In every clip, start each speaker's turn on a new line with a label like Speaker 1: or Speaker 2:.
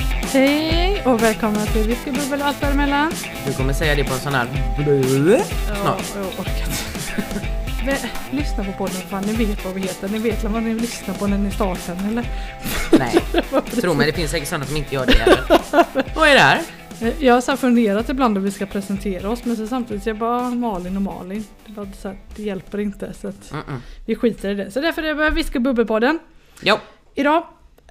Speaker 1: Hej och välkomna till Whiskybubbel och allt däremellan.
Speaker 2: Du kommer säga det på en sån här...
Speaker 1: Ja, jag har orkat. Vä- Lyssna på podden fan, ni vet vad vi heter. Ni vet väl vad ni lyssnar på när ni startar den, eller?
Speaker 2: Nej, tro mig det finns säkert sådana som inte gör det heller. Vad är det här?
Speaker 1: Eh, Jag har så här funderat ibland hur vi ska presentera oss men så samtidigt så är jag bara Malin och Malin. Det, är bara så här, det hjälper inte så att
Speaker 2: Mm-mm.
Speaker 1: vi skiter i det. Så därför är det Whiskybubbelpodden.
Speaker 2: Jo,
Speaker 1: Idag.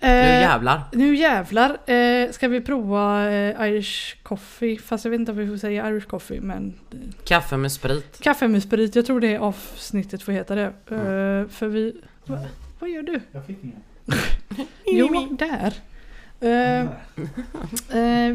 Speaker 1: eh,
Speaker 2: nu jävlar.
Speaker 1: Nu jävlar eh, ska vi prova eh, Irish coffee. Fast jag vet inte om vi får säga Irish coffee men eh,
Speaker 2: Kaffe med sprit.
Speaker 1: Kaffe med sprit, jag tror det är avsnittet får heta det. Eh, för vi... Va, vad gör du?
Speaker 3: Jag fick ingen.
Speaker 1: Jo, där. Eh,
Speaker 3: Mm.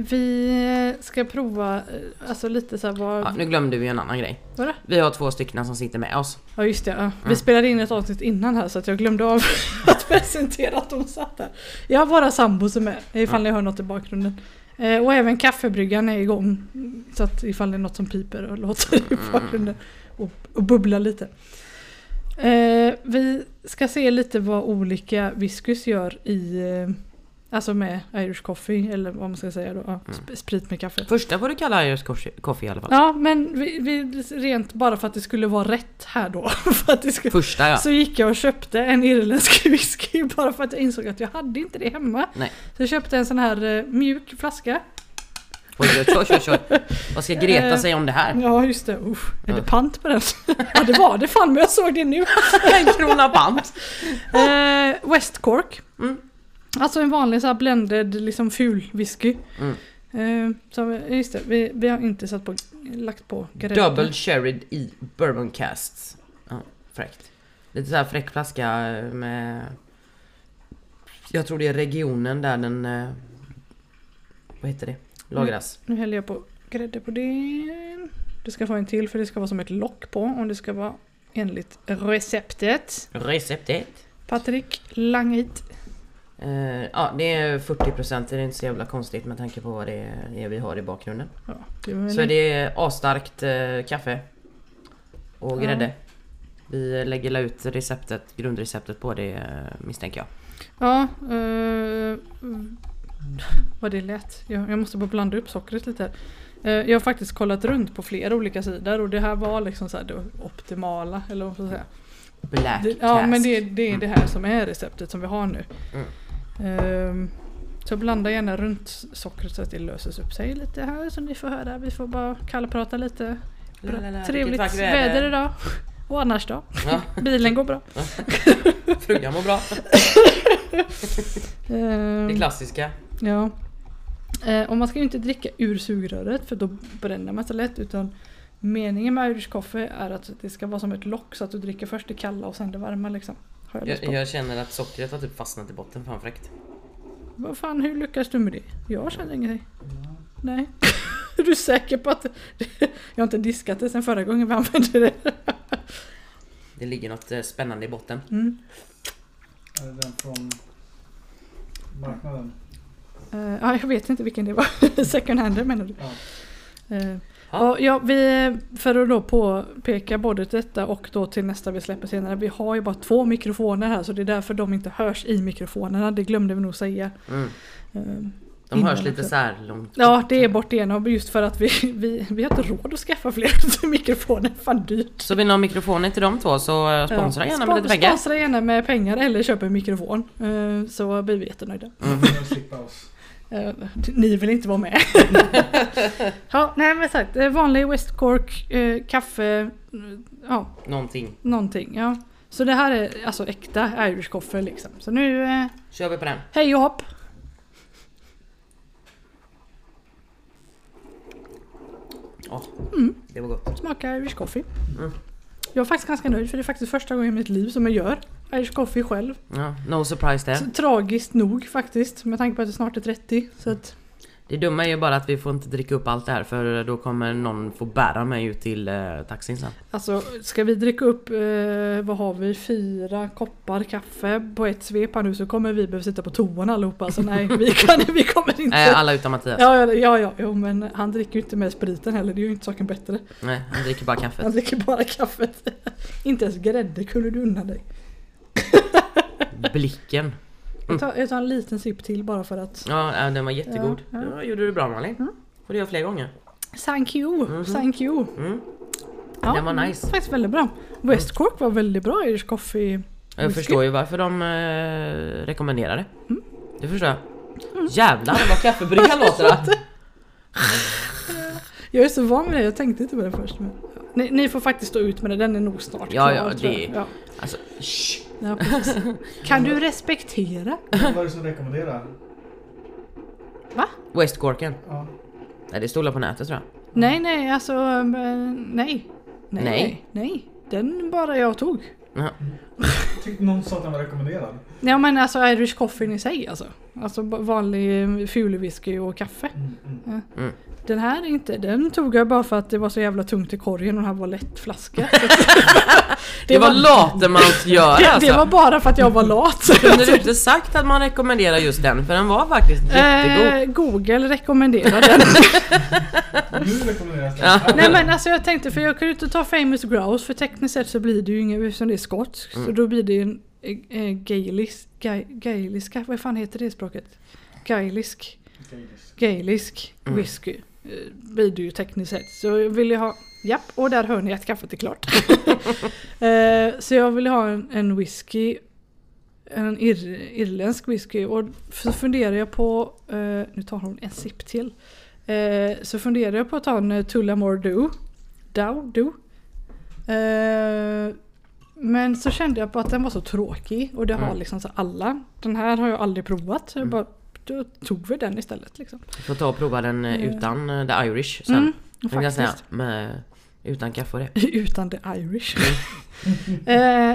Speaker 1: eh, vi ska prova, eh, alltså lite så här vad...
Speaker 2: Ja, nu glömde vi en annan grej.
Speaker 1: Vadå?
Speaker 2: Vi har två stycken som sitter med oss.
Speaker 1: Ja just det, ja. vi
Speaker 2: Mm.
Speaker 1: spelade in ett avsnitt innan här så att jag glömde av att presentera att de satt här. Jag har våra sambos som är med, ifall ni hör något i bakgrunden. Eh, och även kaffebryggan är igång. Så att ifall det är något som piper och låter i bakgrunden. Och, och bubblar lite. Eh, vi ska se lite vad olika whiskys gör i eh, Alltså med Irish coffee eller vad man ska säga då. Ja, sp- sprit med kaffe.
Speaker 2: Första får du kalla Irish coffee- coffee i alla fall.
Speaker 1: Ja men vi, vi, rent bara för att det skulle vara rätt här då. för att det skulle,
Speaker 2: Första ja.
Speaker 1: så gick jag och köpte en irländsk whisky bara för att jag insåg att jag hade inte det hemma.
Speaker 2: Nej.
Speaker 1: Så jag köpte en sån här eh, mjuk flaska.
Speaker 2: Oj, oj, oj, oj, oj. Vad ska Greta säga om det här?
Speaker 1: Ja just det, Uff, är det
Speaker 2: Ja.
Speaker 1: pant på den? ja det var det fan men jag såg det nu.
Speaker 2: En krona pant.
Speaker 1: Eh, West Cork.
Speaker 2: Mm.
Speaker 1: Alltså en vanlig så här blended liksom ful whisky.
Speaker 2: Mm.
Speaker 1: Eh, så just det, vi, vi har inte satt på, lagt på grädde.
Speaker 2: Double sherry i bourbon casts. Ja, fräckt. Lite så här fräck flaska med... Jag tror det är regionen där den... eh, Vad heter det? Lagras.
Speaker 1: Nu häller jag på grädde på den. Du ska få en till för det ska vara som ett lock på om det ska vara enligt Mm. receptet.
Speaker 2: Receptet.
Speaker 1: Patrik, lang hit.
Speaker 2: Eh, ja, det är 40% det är inte så jävla konstigt med tanke på vad det är vi har i bakgrunden.
Speaker 1: Ja, det var
Speaker 2: Så det är asstarkt eh, kaffe. Och
Speaker 1: Ja.
Speaker 2: grädde. Vi lägger la ut receptet, grundreceptet på det eh, misstänker jag.
Speaker 1: ja eh, vad det lät. Jag, jag måste bara blanda upp sockret lite. här. Eh, jag har faktiskt kollat runt på flera olika sidor och det här var liksom så här det optimala. Eller vad man ska säga.
Speaker 2: Black
Speaker 1: Det, ja
Speaker 2: cask.
Speaker 1: men det, det är det här som är receptet som vi har nu.
Speaker 2: Mm.
Speaker 1: Ehm, så blanda gärna runt sockret så att det löses upp sig lite här så ni får höra. Vi får bara kallprata lite.
Speaker 2: La, la, la, vilket
Speaker 1: Trevligt
Speaker 2: vackert
Speaker 1: väder idag. Och annars då?
Speaker 2: Ja,
Speaker 1: Bilen går bra.
Speaker 2: frugan mår bra.
Speaker 1: Mm.
Speaker 2: Det
Speaker 1: Ehm,
Speaker 2: klassiska.
Speaker 1: Ja. Eh, och man ska ju inte dricka ur sugröret för då bränner man så lätt utan meningen med Irish coffee är att det ska vara som ett lock så att du dricker först det kalla och sen det varma liksom. Har jag
Speaker 2: Jag,
Speaker 1: läst på.
Speaker 2: jag känner att sockret har typ fastnat i botten, fan fräckt.
Speaker 1: Vad fan, hur lyckas du med det? Jag känner ingenting. Nej. är du säker på att... jag har inte diskat det sen förra gången vi använde det.
Speaker 2: Det ligger något eh, spännande i botten.
Speaker 1: Mm.
Speaker 3: Är det den från marknaden?
Speaker 1: Eh, ja, jag vet inte vilken det var. Second hander menar du?
Speaker 3: Ja.
Speaker 1: Eh,
Speaker 2: Ja.
Speaker 1: ja, ja, vi, för att då påpeka både detta och då till nästa vi släpper senare. Vi har ju bara två mikrofoner här så det är därför de inte hörs i mikrofonerna. Det glömde vi nog säga.
Speaker 2: Mm.
Speaker 1: Eh,
Speaker 2: De hörs
Speaker 1: innan
Speaker 2: lite
Speaker 1: också.
Speaker 2: så här långt.
Speaker 1: Ja, det är bort igenom just för att vi, vi, vi har inte råd att skaffa fler mikrofoner. Fan dyrt.
Speaker 2: Så vill ni ha mikrofoner till de två så eh, sponsra
Speaker 1: Ja,
Speaker 2: gärna
Speaker 1: spon-
Speaker 2: med lite pengar.
Speaker 1: Sponsra gärna med pengar eller köp en mikrofon. Eh, så blir vi jättenöjda.
Speaker 3: Mm. slippa oss.
Speaker 1: Eh, Ni vill inte vara med. ja, nej men sagt, eh, vanlig West Cork, eh, kaffe, mm, ja
Speaker 2: Någonting.
Speaker 1: någonting. Ja. Så det här är alltså äkta Irish coffee liksom. Så nu, eh,
Speaker 2: Kör vi på den.
Speaker 1: hej och hopp!
Speaker 2: Åh, Det var gott.
Speaker 1: Smaka Irish coffee.
Speaker 2: Mm.
Speaker 1: Jag är faktiskt ganska nöjd för det är faktiskt första gången i mitt liv som jag gör Irish coffee själv.
Speaker 2: Ja, no surprise
Speaker 1: Så,
Speaker 2: där.
Speaker 1: tragiskt nog faktiskt med tanke på att jag snart är 30. Så att,
Speaker 2: Det dumma är ju bara att vi får inte dricka upp allt det här för eh, då kommer någon få bära mig ut till eh, taxin sen.
Speaker 1: Alltså ska vi dricka upp, eh, vad har vi, fyra koppar kaffe på ett svep här nu så kommer vi behöva sitta på toan allihopa. Så nej, vi, kan, vi kommer inte.
Speaker 2: Eh, alla utom Mattias.
Speaker 1: Ja, ja, ja, ja, jo, men han dricker ju inte med spriten heller, det är ju inte saken bättre.
Speaker 2: Nej, han dricker bara kaffet.
Speaker 1: Han dricker bara kaffet. inte ens grädde kunde du unna dig.
Speaker 2: Blicken.
Speaker 1: Jag tar, jag tar en liten sipp till bara för att.
Speaker 2: Ja, ja, den var jättegod.
Speaker 1: Ja,
Speaker 2: Ja,
Speaker 1: ja. Mm.
Speaker 2: gjorde du bra Malin. Får du göra fler gånger.
Speaker 1: Thank you!
Speaker 2: Mhm.
Speaker 1: Thank you!
Speaker 2: Mm.
Speaker 1: Ja,
Speaker 2: Den var nice. Mm.
Speaker 1: Faktiskt väldigt bra. West Cork var väldigt bra Irish coffee.
Speaker 2: Jag
Speaker 1: Whisky.
Speaker 2: förstår ju varför de eh, rekommenderar det.
Speaker 1: Mm.
Speaker 2: Det förstår jag. Jävlar vad kaffebrygga låter det!
Speaker 1: Jag är så van vid det, jag tänkte inte på det först. Men... Ja. Ni, ni får faktiskt stå ut med det, den är nog snart
Speaker 2: Ja,
Speaker 1: klar,
Speaker 2: ja,
Speaker 1: tror
Speaker 2: det-
Speaker 1: jag. Ja.
Speaker 2: Alltså, shh.
Speaker 1: Ja, precis. Kan du respektera?
Speaker 3: Vad är det som rekommenderar?
Speaker 2: Westcorken.
Speaker 3: Ja.
Speaker 2: Nej det stod väl på nätet tror jag.
Speaker 1: Nej, nej, alltså eh, nej. Nej, nej.
Speaker 2: Nej.
Speaker 1: nej. Den bara jag tog.
Speaker 2: Jaha.
Speaker 3: Jag tyckte någon sa att den var rekommenderad.
Speaker 1: Ja men alltså Irish coffee i sig alltså. Alltså ba- vanlig eh, fulwhisky och kaffe.
Speaker 3: Mm, mm.
Speaker 1: Den här är inte, den tog jag bara för att det var så jävla tungt i korgen och den här var lätt flaska.
Speaker 2: Det, var latemansgör
Speaker 1: det,
Speaker 2: alltså!
Speaker 1: det var bara för att jag var lat.
Speaker 2: Kunde du inte sagt att man rekommenderar just den? För den var faktiskt jättegod.
Speaker 1: Eh, Google rekommenderar den.
Speaker 3: Nu rekommenderas den.
Speaker 2: Ja.
Speaker 1: Nej men alltså jag tänkte för jag kunde inte ta famous grouse för tekniskt sett så blir det ju inget eftersom det är skotskt. Så då blir det ju en eh, eh, gaelisk, ga- gaeliska, vad fan heter det språket? Gaelisk.
Speaker 3: Gaelisk.
Speaker 1: gaelisk
Speaker 2: Mm.
Speaker 1: whisky. eh, Blir det ju tekniskt sett. Så jag ville ha, japp, och där hör ni att kaffet är klart. Eh, så jag ville ha en, en whisky, en ir, irländsk whisky. Och så funderar jag på, eh, nu tar hon en sipp till. Eh, så funderar jag på att ta en eh, Tullamore Dew. Dow, Dew. Eh, men så kände jag på att den var så tråkig och det har
Speaker 2: Mm.
Speaker 1: liksom så alla. Den här har jag aldrig provat. Så jag bara, då tog vi den istället liksom.
Speaker 2: Du får ta och prova den eh,
Speaker 1: Eh.
Speaker 2: utan eh, the Irish sen.
Speaker 1: Mm,
Speaker 2: Den kan jag säga.
Speaker 1: faktiskt.
Speaker 2: Med, utan kaffe och det.
Speaker 1: Utan the Irish.
Speaker 2: Mm.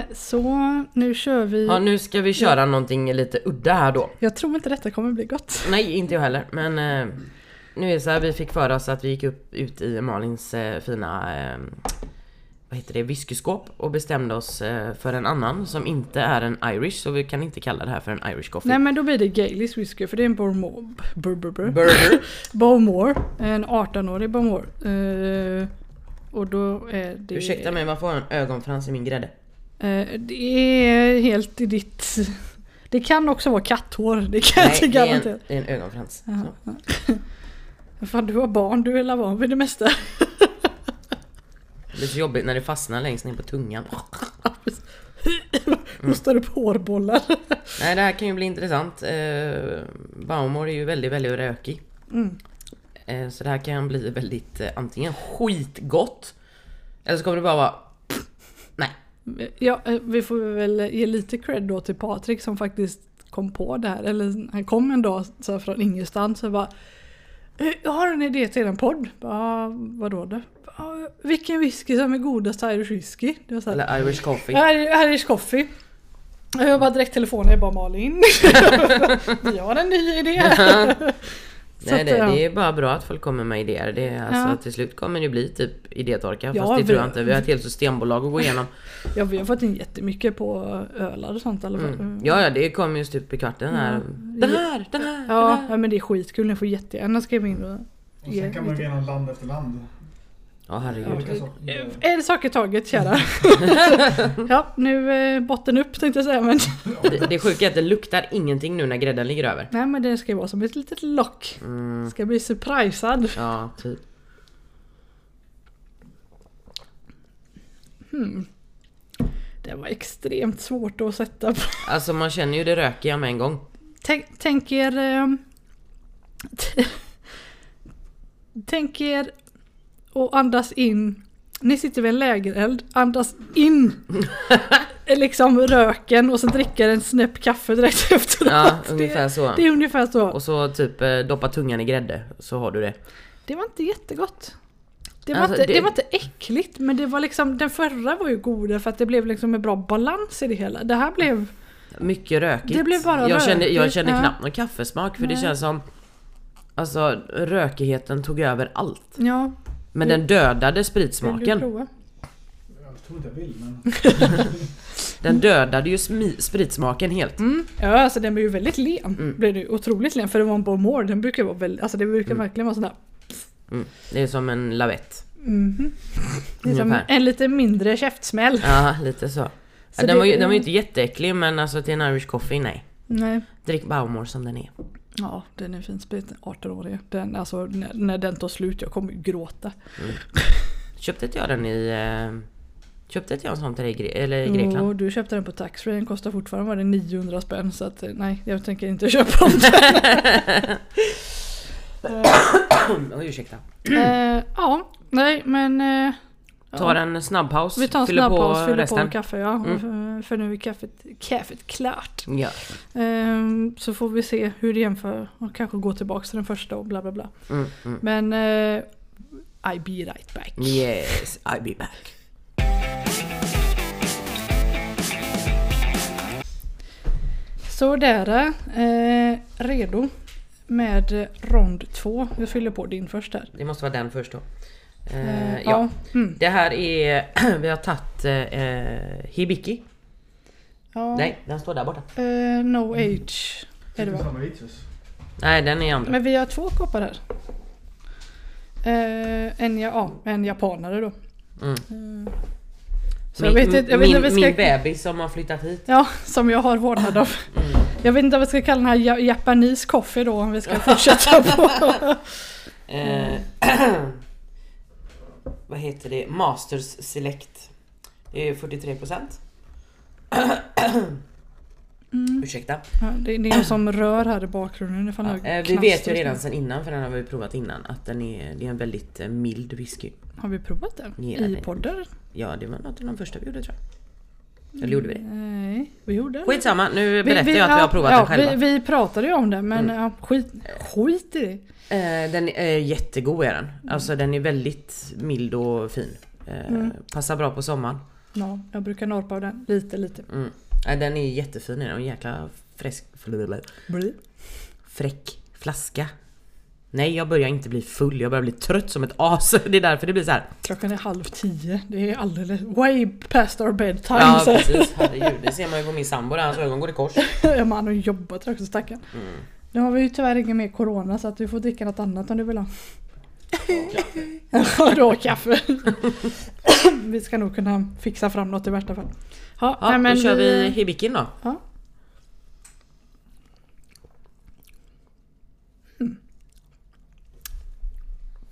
Speaker 1: eh, så nu kör vi.
Speaker 2: Ja nu ska vi köra någonting lite udda här då.
Speaker 1: Jag tror inte detta kommer bli gott.
Speaker 2: Nej inte jag heller men eh, nu är det så här, vi fick för oss att vi gick upp, ut i Malins eh, fina eh, vad heter det, whiskyskåp och bestämde oss eh, för en annan som inte är en Irish så vi kan inte kalla det här för en Irish coffee.
Speaker 1: Nej men då blir det Gaelish whisky för det är en Bormore. Bur, bur, bur.
Speaker 2: Burger.
Speaker 1: Bormore. En 18-årig Bormore. Eh, och då är det...
Speaker 2: Ursäkta mig man får en ögonfrans i min grädde.
Speaker 1: Eh, det är helt i ditt... Det kan också vara katthår. Det kan jag
Speaker 2: Nej
Speaker 1: inte
Speaker 2: det är en,
Speaker 1: garantera.
Speaker 2: det är en ögonfrans. Så.
Speaker 1: Jaha. Fan du har barn, du är la van vid det mesta.
Speaker 2: Det är så jobbigt när det fastnar längst ner på tungan. Mm.
Speaker 1: Hostar upp hårbollar.
Speaker 2: Nej det här kan ju bli intressant. Eh, Baumor är ju väldigt väldigt rökig.
Speaker 1: Mm.
Speaker 2: Eh, Så det här kan bli väldigt eh, antingen skitgott eller så kommer det bara vara Nej.
Speaker 1: Ja, eh, vi får väl ge lite cred då till Patrik som faktiskt kom på det här. Eller han kom en dag så här från ingenstans och bara "Eh, Jag har en idé till en podd. Bara, vadå då? "Ja, Vilken whisky som är godast Irish whisky? Det var så här,
Speaker 2: Eller Irish coffee.
Speaker 1: här, Irish coffee. Och Jag bara direkt telefonen, jag bara Malin. Vi har en ny idé. Så
Speaker 2: Nej
Speaker 1: att,
Speaker 2: det,
Speaker 1: ja.
Speaker 2: det är bara bra att folk kommer med idéer. Det är, alltså,
Speaker 1: Ja.
Speaker 2: Till slut kommer det bli typ idétorka.
Speaker 1: Ja,
Speaker 2: fast det
Speaker 1: vi-
Speaker 2: tror jag inte. Vi har ett helt systembolag att gå igenom.
Speaker 1: Ja vi har fått in jättemycket på ölar och sånt i alla fall.
Speaker 2: Mm. Ja, ja det kommer ju stup i kvarten här. Den här, den här, den
Speaker 1: Ja,
Speaker 2: här.
Speaker 1: ja men det är skitkul, ni får jättegärna skriva in och
Speaker 3: Och sen kan man gå igenom land efter land.
Speaker 2: Ja herregud.
Speaker 3: Olika saker.
Speaker 1: En sak i taget kära. ja, nu eh, botten upp tänkte jag säga men
Speaker 2: Det, det sjuka är att det luktar ingenting nu när grädden ligger över.
Speaker 1: Nej men det ska ju vara som ett litet lock.
Speaker 2: Mm.
Speaker 1: Ska bli surprisad.
Speaker 2: Ja, typ.
Speaker 1: Hmm. Det var extremt svårt att sätta på.
Speaker 2: Alltså man känner ju det rökiga med en gång.
Speaker 1: Tänk, tänk er... ehm, t- tänk er och andas in. Ni sitter vid en lägereld, andas in liksom röken och sen dricker en snäpp kaffe direkt efteråt.
Speaker 2: Ja,
Speaker 1: det,
Speaker 2: ungefär så.
Speaker 1: det är ungefär så.
Speaker 2: Och så typ eh, doppa tungan i grädde så har du det.
Speaker 1: Det var inte jättegott. Det var,
Speaker 2: Alltså,
Speaker 1: inte, det...
Speaker 2: det-
Speaker 1: var inte äckligt men det var liksom, den förra var ju godare för att det blev liksom en bra balans i det hela. Det här blev...
Speaker 2: Mycket rökigt.
Speaker 1: Det blev bara
Speaker 2: jag kände, jag
Speaker 1: rökigt,
Speaker 2: kände
Speaker 1: ja.
Speaker 2: knappt någon kaffesmak för
Speaker 1: Nej.
Speaker 2: det känns som Alltså rökigheten tog över allt.
Speaker 1: Ja,
Speaker 2: Men den dödade
Speaker 1: vill du
Speaker 2: spritsmaken.
Speaker 1: prova?
Speaker 3: Jag tror inte jag vill men...
Speaker 2: Den dödade ju smi- spritsmaken helt.
Speaker 1: Ja, alltså den blev ju väldigt len. Blev det ju otroligt len för det var en Bormore. Den brukar vara väldigt, alltså det brukar verkligen vara sån där...
Speaker 2: Mm. Det är som en lavett.
Speaker 1: Mhm. Det är som
Speaker 2: Ungefär.
Speaker 1: en lite mindre käftsmäll.
Speaker 2: Ja, lite så.
Speaker 1: Så
Speaker 2: Ja, den,
Speaker 1: det-
Speaker 2: var ju, den var ju inte jätteäcklig men alltså till en Irish coffee, nej.
Speaker 1: Nej.
Speaker 2: Drick Baumor som den är.
Speaker 1: Ja, den är fin sprit. 18 år är den. Alltså när, när den tar slut, jag kommer ju gråta.
Speaker 2: Köpte inte jag den i... Eh, köpte inte jag en sån till dig i Gre- eller i Grekland?
Speaker 1: Jo, du köpte den på taxfree. Den kostar fortfarande var det 900 spänn. Så att, eh, nej, jag tänker inte köpa om den.
Speaker 2: Oj, ursäkta.
Speaker 1: eh, ja, nej men... Eh,
Speaker 2: Mm. Ta
Speaker 1: ja.
Speaker 2: en snabb paus.
Speaker 1: Vi tar en
Speaker 2: fyller
Speaker 1: snabb
Speaker 2: på
Speaker 1: paus, fyller på
Speaker 2: resten. Mm.
Speaker 1: en kaffe ja. För- För nu är kaffet, kaffet klart.
Speaker 2: Ja.
Speaker 1: Ehm, så får vi se hur det jämför och kanske gå tillbaka till den första och bla bla bla.
Speaker 2: Mm, mm.
Speaker 1: Men eh, I be right back.
Speaker 2: Yes, I'll be back.
Speaker 1: Så där, eh, redo med eh, rond två. Jag fyller på din först här.
Speaker 2: Det måste vara den först då. Eh,
Speaker 1: Eh,
Speaker 2: ja.
Speaker 1: Mm.
Speaker 2: Det här är... vi har tagit eh, Hibiki.
Speaker 1: ja.
Speaker 2: Nej, den står där borta.
Speaker 1: Eh, no age. Är det va?
Speaker 2: Nej, den är andra.
Speaker 1: Men vi har två koppar här. Eh, en, ja, ja, en japanare då.
Speaker 2: Mm.
Speaker 1: Eh, Så jag vet inte, jag vet inte
Speaker 2: min,
Speaker 1: om vi
Speaker 2: min
Speaker 1: ska...
Speaker 2: bebis som har flyttat hit. Mm.
Speaker 1: Ja, som jag har vårdnad av. Jag vet inte vad vi ska kalla den här ja- Japanese coffee då om vi ska fortsätta på.
Speaker 2: Eh, vad heter det? Masters Select. Det är 43%. Ursäkta.
Speaker 1: Ja, det, det är någon som rör här i bakgrunden ifall
Speaker 2: Mm. Ja,
Speaker 1: det
Speaker 2: eh, vi
Speaker 1: knastrar.
Speaker 2: vet ju redan sedan innan, för den har vi provat innan, att den är, det är en väldigt eh, mild whisky.
Speaker 1: Har vi provat den?
Speaker 2: Ja,
Speaker 1: I
Speaker 2: det-
Speaker 1: podden?
Speaker 2: Ja, det var något
Speaker 1: Mm.
Speaker 2: av de första vi gjorde tror jag. Eller gjorde vi det?
Speaker 1: Nej, vi gjorde det.
Speaker 2: Skitsamma, nu berättar
Speaker 1: Mm. Vi- vi-
Speaker 2: jag att vi
Speaker 1: ja,
Speaker 2: har provat
Speaker 1: ja,
Speaker 2: den själva. Mm.
Speaker 1: Vi, vi pratade ju om den men ja, skit, skit i det.
Speaker 2: Eh, den är jättegod är
Speaker 1: Mm.
Speaker 2: den. Alltså den är väldigt mild och fin. Eh,
Speaker 1: Mm.
Speaker 2: Passar bra på sommaren.
Speaker 1: Ja, jag brukar norpa av den lite lite.
Speaker 2: Mm. Eh, den är jättefin är den. Och en jäkla fräsk... Fräck flaska. Nej jag börjar inte bli full, jag börjar bli trött som ett as. Det är därför det blir så här.
Speaker 1: Klockan är halv tio. Det är alldeles way past our bedtime.
Speaker 2: Ja
Speaker 1: så
Speaker 2: precis, herregud. Det ser man ju på min sambo där, hans ögon går i kors.
Speaker 1: är man och jobbat också stackaren.
Speaker 2: Mm.
Speaker 1: Nu har vi ju tyvärr ingen mer corona så att du får dricka något annat om du vill ha. Rå kaffe. vi ska nog kunna fixa fram något i värsta fall. Ha,
Speaker 2: Ja,
Speaker 1: nej, men
Speaker 2: då kör vi hibikin då.
Speaker 1: Ja.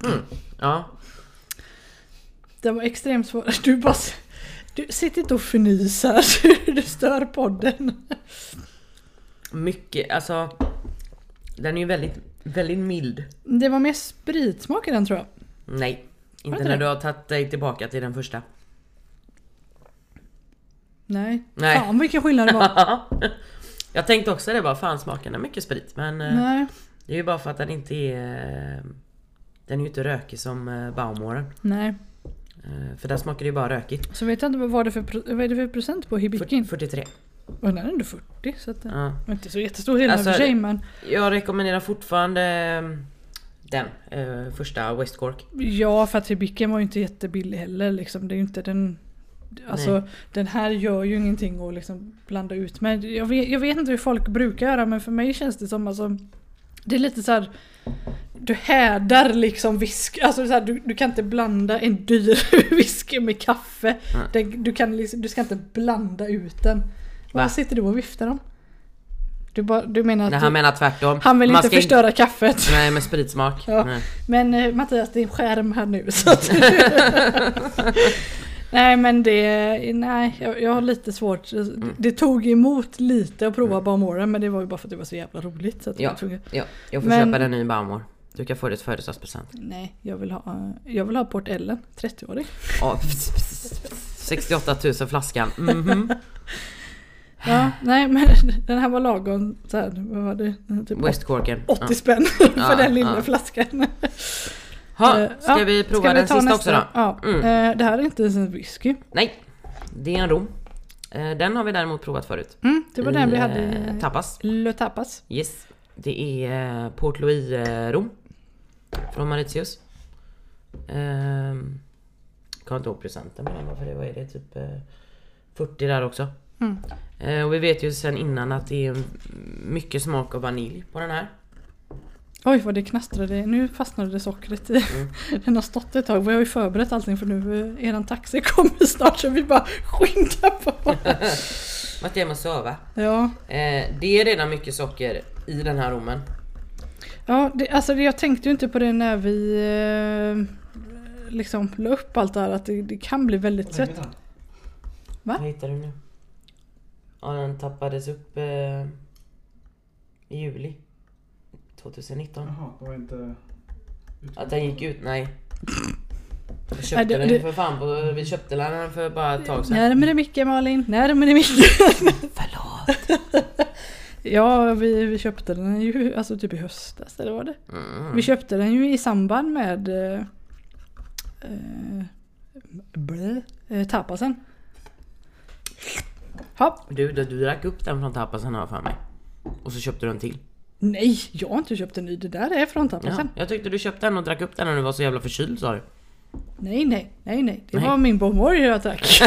Speaker 2: Mm, Ja,
Speaker 1: Den var extremt svår. Du bara... Du, sitt inte och fnys här. Du stör podden.
Speaker 2: mycket, alltså Den är ju väldigt, väldigt mild
Speaker 1: Det var mer spritsmak i den tror jag.
Speaker 2: Nej,
Speaker 1: Var
Speaker 2: inte
Speaker 1: det
Speaker 2: när
Speaker 1: det?
Speaker 2: du har tagit dig tillbaka till den första
Speaker 1: Nej.
Speaker 2: Nej.
Speaker 1: Fan vilken skillnad det var.
Speaker 2: Jag tänkte också det bara, fan smaken är mycket sprit men eh,
Speaker 1: nej.
Speaker 2: Det är ju bara för att den inte är eh, Den är ju inte rökig som eh, Baumoren
Speaker 1: Nej.
Speaker 2: Eh, För där smakar det ju bara rökigt
Speaker 1: Så vet jag inte vad var det för, pro- vad är det för procent på hibikin?
Speaker 2: 43
Speaker 1: Och den är ändå 40 så att det
Speaker 2: ja.
Speaker 1: var inte så jättestor skillnad
Speaker 2: Alltså,
Speaker 1: för sig men
Speaker 2: Jag rekommenderar fortfarande eh, Den eh, första West Cork
Speaker 1: Ja för att hibikin var ju inte jättebillig heller liksom. Det är ju inte den Alltså den här gör ju ingenting att liksom blanda ut med. Jag vet, jag vet inte hur folk brukar göra men för mig känns det som alltså Det är lite så här. Du härdar liksom whisky, alltså så här, du, du kan inte blanda en dyr whisky med kaffe.
Speaker 2: Nej.
Speaker 1: Det, du, kan liksom, du ska inte blanda ut den. Vad sitter du och viftar om? Du, bara, du menar att
Speaker 2: Nej han
Speaker 1: du,
Speaker 2: menar tvärtom
Speaker 1: han vill
Speaker 2: Man
Speaker 1: inte
Speaker 2: ska inte-
Speaker 1: förstöra kaffet?
Speaker 2: Nej med spritsmak
Speaker 1: Ja.
Speaker 2: Nej.
Speaker 1: Men eh, Mattias, det är en skärm här nu så att... Nej men det, nej jag, jag har lite svårt. Det,
Speaker 2: Mm.
Speaker 1: det tog emot lite att prova mm. Barmoren men det var ju bara för att det var så jävla roligt. Så att
Speaker 2: Ja.
Speaker 1: jag tog,
Speaker 2: Ja, jag får
Speaker 1: Men-
Speaker 2: köpa den i Baumor. Du kan få det till födelsedagspresent.
Speaker 1: nej, jag vill ha, eh, jag vill ha Port Ellen, 30-årig.
Speaker 2: Ja, 68 000 flaskan. Mhm.
Speaker 1: Ja, nej men den här var lagom så här, vad var det? Typ
Speaker 2: Westcorken.
Speaker 1: 80
Speaker 2: Ja.
Speaker 1: spänn för
Speaker 2: Ja,
Speaker 1: den lilla
Speaker 2: ja.
Speaker 1: flaskan.
Speaker 2: Ha,
Speaker 1: Eh,
Speaker 2: ska
Speaker 1: ja,
Speaker 2: vi prova
Speaker 1: Ska vi
Speaker 2: den
Speaker 1: ta
Speaker 2: sista
Speaker 1: nästa?
Speaker 2: också då?
Speaker 1: Ja,
Speaker 2: Mm.
Speaker 1: eh, det här är inte ens en whisky.
Speaker 2: Nej, det är en rom. Eh, Den har vi däremot provat förut.
Speaker 1: Mm, det var den vi
Speaker 2: I,
Speaker 1: hade
Speaker 2: eh,
Speaker 1: i
Speaker 2: Tapas.
Speaker 1: Le Tapas.
Speaker 2: Yes. Det är eh, Port Louis eh, rom. Från Mauritius. Ehm, Kommer inte ihåg procenten på den bara för det, vad är det? Typ eh, 40 där också.
Speaker 1: Mm.
Speaker 2: Eh, Och vi vet ju sen innan att det är mycket smak av vanilj på den här.
Speaker 1: Oj vad det knastrade, nu fastnade det sockret i.
Speaker 2: Mm.
Speaker 1: Den har stått ett tag, vi har ju förberett allting för nu, eh, eran taxi kommer snart så vi bara skyndar på.
Speaker 2: Vart är man söva?
Speaker 1: Ja,
Speaker 2: Eh, det är redan mycket socker i den här rommen.
Speaker 1: ja det, alltså det, jag tänkte ju inte på det när vi eh, liksom la upp allt det här att det, det kan bli väldigt sött.
Speaker 3: Vänta.
Speaker 1: Va?
Speaker 2: Vad hittar du nu? Ja, den tappades upp eh, i juli 2019.
Speaker 3: Jaha, det var inte...
Speaker 2: Att den gick ut? Nej. Vi köpte
Speaker 1: Nej, det-
Speaker 2: den
Speaker 1: det-
Speaker 2: för fan på, vi köpte den för bara ett tag sedan.
Speaker 1: Närmare micken Malin, närmare micken.
Speaker 2: Förlåt.
Speaker 1: Ja, vi, vi köpte den ju alltså typ i höstas eller vad det
Speaker 2: Mm.
Speaker 1: Vi köpte den ju i samband med eh, eh, blä, eh, tapasen. Ha,
Speaker 2: Du, du, du drack upp den från tapasen har jag för mig. Och så köpte du en till.
Speaker 1: nej, jag har inte köpt en ny. Det där är från
Speaker 2: Ja,
Speaker 1: tapasen.
Speaker 2: jag tyckte du köpte den och drack upp den när du var så jävla förkyld sa du.
Speaker 1: Nej, nej, nej, nej. Det
Speaker 2: Nej.
Speaker 1: var min Bomor jag drack.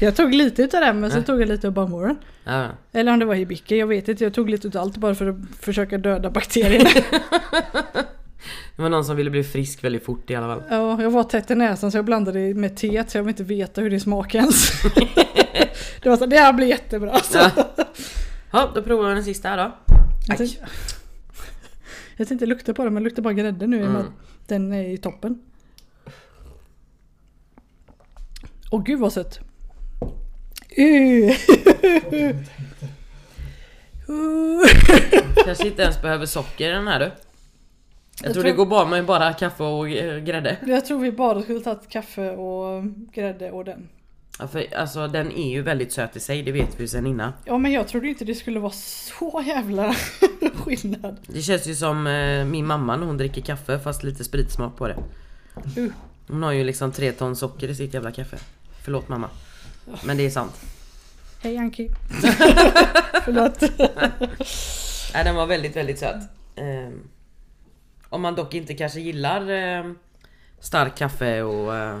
Speaker 1: jag tog lite utav den men så
Speaker 2: Nej.
Speaker 1: tog jag lite av Bomoren.
Speaker 2: Ja.
Speaker 1: Eller om det var Hibiki, jag vet inte. Jag tog lite utav allt bara för att försöka döda bakterierna.
Speaker 2: Det var någon som ville bli frisk väldigt fort i alla fall.
Speaker 1: Ja, jag var tätt i näsan så jag blandade det med teet så jag vill inte veta hur det smakar ens. det var så, det här blir jättebra. Så.
Speaker 2: Ja, då provar vi den sista här då.
Speaker 1: Jag,
Speaker 2: Aj.
Speaker 1: tänkte, jag tänkte lukta på den men det luktar bara grädde nu i och med
Speaker 2: Mm.
Speaker 1: att den är i toppen. Åh gud vad sött. Uh. Uh.
Speaker 2: Kanske inte ens behöver socker i den här du. Jag, tror,
Speaker 1: tror-
Speaker 2: det går bra med bara kaffe och eh, grädde.
Speaker 1: Jag tror vi bara skulle tagit kaffe och grädde och den.
Speaker 2: Ja, för, alltså den är ju väldigt söt i sig, det vet vi ju sen innan.
Speaker 1: Ja men jag trodde inte det skulle vara så jävla skillnad.
Speaker 2: Det känns ju som eh, min mamma när hon dricker kaffe fast lite spritsmak på det.
Speaker 1: Uh.
Speaker 2: Hon har ju liksom tre ton socker i sitt jävla kaffe. Förlåt mamma. Men det är sant.
Speaker 1: Hej Anki. Förlåt.
Speaker 2: Nej, Äh, den var väldigt, väldigt söt. Ehm, om man dock inte kanske gillar ehm, stark kaffe och... eh,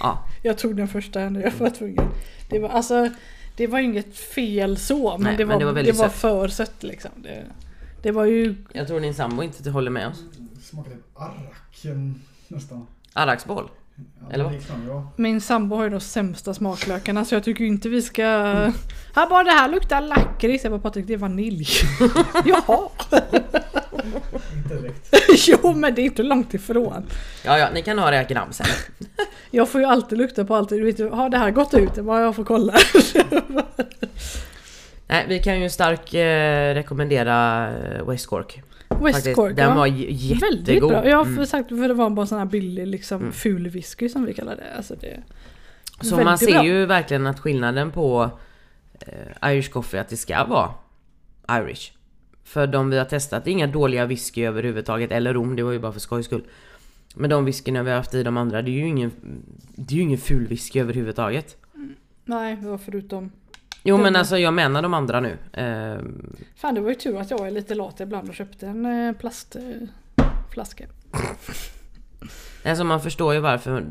Speaker 2: ja,
Speaker 1: Jag tog den första här när jag var tvungen. Det var, alltså, det var inget fel så men,
Speaker 2: Nej,
Speaker 1: det,
Speaker 2: men
Speaker 1: var,
Speaker 2: det
Speaker 1: det
Speaker 2: var
Speaker 1: var,
Speaker 2: väldigt sött.
Speaker 1: för sött liksom. Det, det var ju...
Speaker 2: jag tror din sambo inte håller med oss.
Speaker 3: Det smakade typ arrak mm, nästan.
Speaker 2: Arraksboll.
Speaker 3: Ja,
Speaker 2: Eller vad?
Speaker 3: Liknande, ja.
Speaker 1: Min sambo har ju de sämsta smaklökarna så jag tycker ju inte vi ska... Han bara det här luktar lakrits. Jag bara Patrik det är vanilj. Jaha!
Speaker 3: Inte direkt.
Speaker 1: jo men det är inte långt ifrån.
Speaker 2: Ja, ja, ni kan ha det här gram sen.
Speaker 1: Jag får ju alltid lukta på allt. Du vet ju, har det här gått ut? Jag bara jag får kolla.
Speaker 2: Nej, vi kan ju starkt eh, rekommendera eh, West Cork.
Speaker 1: West
Speaker 2: faktiskt.
Speaker 1: Cork
Speaker 2: Den
Speaker 1: va?
Speaker 2: var j-
Speaker 1: Väldigt
Speaker 2: jättegod.
Speaker 1: bra. Jag har
Speaker 2: Mm.
Speaker 1: sagt för det var bara sån här billig liksom
Speaker 2: Mm.
Speaker 1: ful whisky som vi kallar det. Alltså det
Speaker 2: Så man
Speaker 1: väldigt
Speaker 2: ser
Speaker 1: bra.
Speaker 2: ju verkligen att skillnaden på eh, Irish coffee att det ska vara Irish. För de vi har testat, det är inga dåliga whisky överhuvudtaget, eller rom, det var ju bara för skojs skull. Men de whiskyna vi har haft i de andra, det är ju ingen, det är ju ingen ful whisky överhuvudtaget.
Speaker 1: Nej, det var förutom...
Speaker 2: Jo men
Speaker 1: Mm.
Speaker 2: alltså jag menar de andra nu. Eh,
Speaker 1: Fan det var ju tur att jag är lite lat ibland och köpte en eh, plastflaska. Eh, flaska.
Speaker 2: alltså man förstår ju varför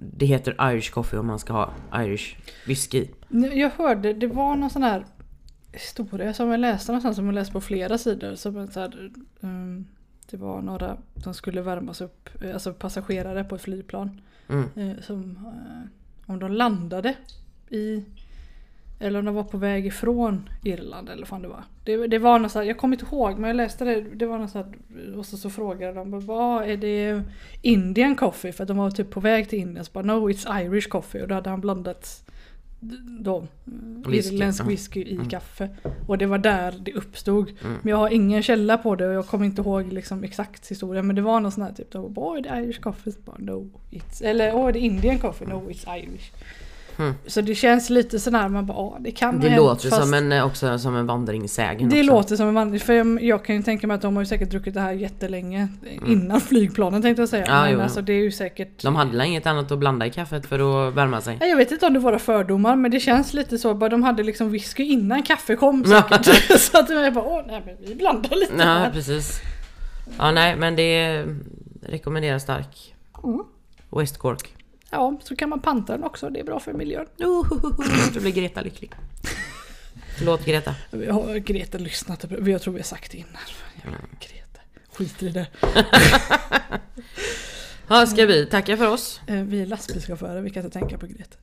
Speaker 2: det heter Irish coffee om man ska ha Irish whisky.
Speaker 1: Nu, jag hörde, det var någon sån här historia som jag läste någonstans som jag läste på flera sidor. Som en så här, ehm, det var några som skulle värmas upp, eh, alltså passagerare på ett flygplan.
Speaker 2: Mm.
Speaker 1: Eh, som, eh, om de landade i eller om de var på väg ifrån Irland eller vad fan det var. Det, det var något så här, jag kommer inte ihåg men jag läste det. Det var något så här, och så, så frågade de bara, vad är det Indian coffee? För att de var typ på väg till Indien. Så bara no it's Irish coffee. Och då hade han blandat d- då, eh,
Speaker 2: Whisky,
Speaker 1: irländsk
Speaker 2: ja.
Speaker 1: whisky i
Speaker 2: Mm.
Speaker 1: kaffe. Och det var där det uppstod.
Speaker 2: Mm.
Speaker 1: Men jag har ingen källa på det och jag kommer inte ihåg liksom exakt historien. Men det var någon sån här typ, de bara, åh är det Irish coffee? Så Bara, no, it's... Eller åh är det Indian coffee? No it's Irish.
Speaker 2: Mm.
Speaker 1: Så det känns lite sån här, man bara, åh det kan ha
Speaker 2: Det
Speaker 1: hänt,
Speaker 2: låter ju
Speaker 1: fast
Speaker 2: som en, eh, också som en vandringssägen
Speaker 1: Det
Speaker 2: också.
Speaker 1: låter som en vandring, för jag, jag kan ju tänka mig att de har ju säkert druckit det här jättelänge innan flygplanen tänkte jag säga.
Speaker 2: Ja, Mm. Ah, jo,
Speaker 1: men
Speaker 2: jo.
Speaker 1: alltså det är ju säkert...
Speaker 2: De hade väl inget annat att blanda i kaffet för att värma sig?
Speaker 1: Nej, Jag vet inte om det var fördomar men det känns lite så, bara de hade liksom whisky innan kaffe kom säkert. så att jag bara, åh nej men vi blandar lite
Speaker 2: Ja,
Speaker 1: här.
Speaker 2: precis. Ja, nej, men det rekommenderas stark.
Speaker 1: Mm.
Speaker 2: West Cork.
Speaker 1: Ja, så kan man panta den också, det är bra för miljön.
Speaker 2: Då blir Greta lycklig. Förlåt Greta.
Speaker 1: Vi har Greta lyssnat, vi- jag tror vi har sagt det innan. Jävla
Speaker 2: Mm.
Speaker 1: Greta, skit i det.
Speaker 2: Ja, ska vi tacka för oss?
Speaker 1: Eh, Vi är lastbilschaufförer, vi kan inte tänka på Greta.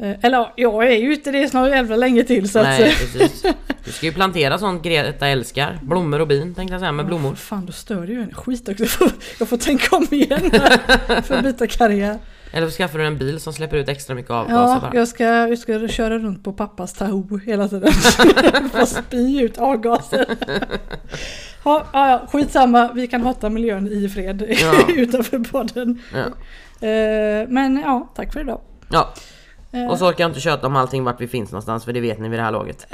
Speaker 1: Eh, Eller ja, jag är ju inte det snart jävla länge till så
Speaker 2: Nej
Speaker 1: att...
Speaker 2: precis. Du ska ju plantera sånt Greta älskar. Blommor och bin tänkte jag säga, med
Speaker 1: Åh,
Speaker 2: blommor.
Speaker 1: Fan, då stör du ju en skit också. Jag får, jag får tänka om igen här för att byta karriär.
Speaker 2: Eller så skaffar du en bil som släpper ut extra mycket avgaser
Speaker 1: Ja,
Speaker 2: bara.
Speaker 1: jag ska, jag ska köra runt på pappas Tahoe hela tiden. och spy ut avgaser. Ja, ja, ja, skitsamma, vi kan hata miljön i fred
Speaker 2: Ja.
Speaker 1: utanför podden.
Speaker 2: Ja.
Speaker 1: Eh, Men ja, tack för idag.
Speaker 2: ja.
Speaker 1: Eh,
Speaker 2: Och så orkar jag inte köta om allting vart vi finns någonstans för det vet ni vid det här laget.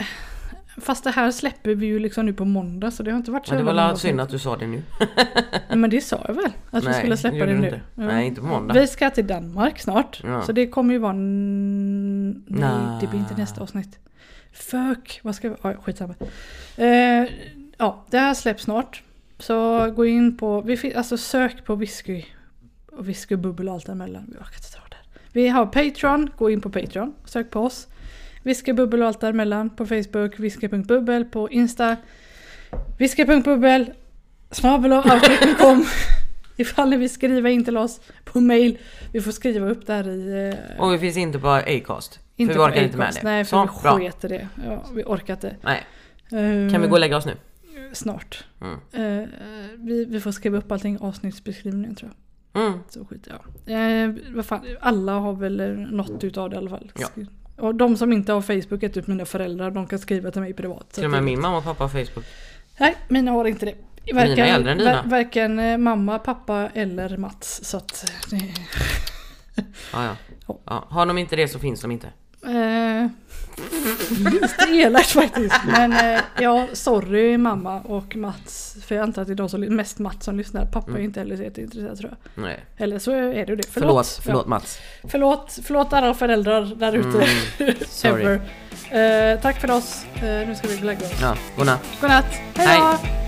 Speaker 1: Fast det här släpper vi ju liksom nu på måndag så det har inte varit så
Speaker 2: Men det
Speaker 1: jävla
Speaker 2: var väl
Speaker 1: många
Speaker 2: synd
Speaker 1: avsnitt.
Speaker 2: att du sa det nu.
Speaker 1: Nej, Men det sa jag väl? Att vi
Speaker 2: Nej,
Speaker 1: skulle släppa
Speaker 2: gjorde
Speaker 1: det
Speaker 2: du
Speaker 1: nu.
Speaker 2: inte.
Speaker 1: Ja.
Speaker 2: Nej, inte på måndag.
Speaker 1: Vi ska till Danmark snart.
Speaker 2: Ja.
Speaker 1: Så det kommer ju vara... n- Nej,
Speaker 2: Nej.
Speaker 1: det blir inte nästa avsnitt. Fuck! Vad ska vi... Ja, skitsamma. Eh, ja, det här släpps snart. Så gå in på... Vi fin- alltså sök på whisky. Och whisky och bubbel och allt däremellan. Jag orkar inte dra det. här. Vi har Patreon. Gå in på Patreon. Sök på oss. Whisky, bubbel och allt däremellan. På Facebook. Whisky.bubbel. På Insta. Whisky.bubbel. Snabel och outlook.com. Ifall ni vill skriva in till oss på mail. Vi får skriva upp där i... eh,
Speaker 2: Och vi finns inte på Acast. för vi orkar inte med
Speaker 1: Acast.
Speaker 2: det.
Speaker 1: Nej,
Speaker 2: så,
Speaker 1: för
Speaker 2: bra.
Speaker 1: vi sket i det. Ja, vi orkar inte.
Speaker 2: Nej,
Speaker 1: Eh,
Speaker 2: kan vi gå och lägga oss nu?
Speaker 1: Snart.
Speaker 2: Mm.
Speaker 1: Eh, vi, vi får skriva upp allting i avsnittsbeskrivningen tror jag.
Speaker 2: Mm.
Speaker 1: Så skit ja. Eh, vad fan, alla har väl eh, något utav det i alla fall.
Speaker 2: Ja.
Speaker 1: Och de som inte har Facebook är typ mina föräldrar. De kan skriva till mig privat. Så
Speaker 2: Till och
Speaker 1: att
Speaker 2: med
Speaker 1: det-
Speaker 2: min mamma och pappa har Facebook.
Speaker 1: Nej, mina har inte det.
Speaker 2: Mina är äldre än dina.
Speaker 1: var- varken eh, mamma, pappa eller Mats. Så att,
Speaker 2: Ja, ja.
Speaker 1: Ja.
Speaker 2: Ja. Har de inte det så finns de inte.
Speaker 1: eh, lite elakt faktiskt. Men eh, ja, sorry mamma och Mats. För jag antar att det är de som, mest Mats som lyssnar. Pappa är
Speaker 2: Mm.
Speaker 1: inte heller så jätteintresserad tror jag.
Speaker 2: Nej.
Speaker 1: Eller så är det ju det.
Speaker 2: Förlåt,
Speaker 1: Ja.
Speaker 2: förlåt Mm. Mats.
Speaker 1: Förlåt, förlåt alla föräldrar där ute.
Speaker 2: sorry.
Speaker 1: Ever. Eh, tack för oss. Eh, nu ska vi gå och lägga oss.
Speaker 2: Ja, godnatt.
Speaker 1: Godnatt. Hej då!
Speaker 2: Hej.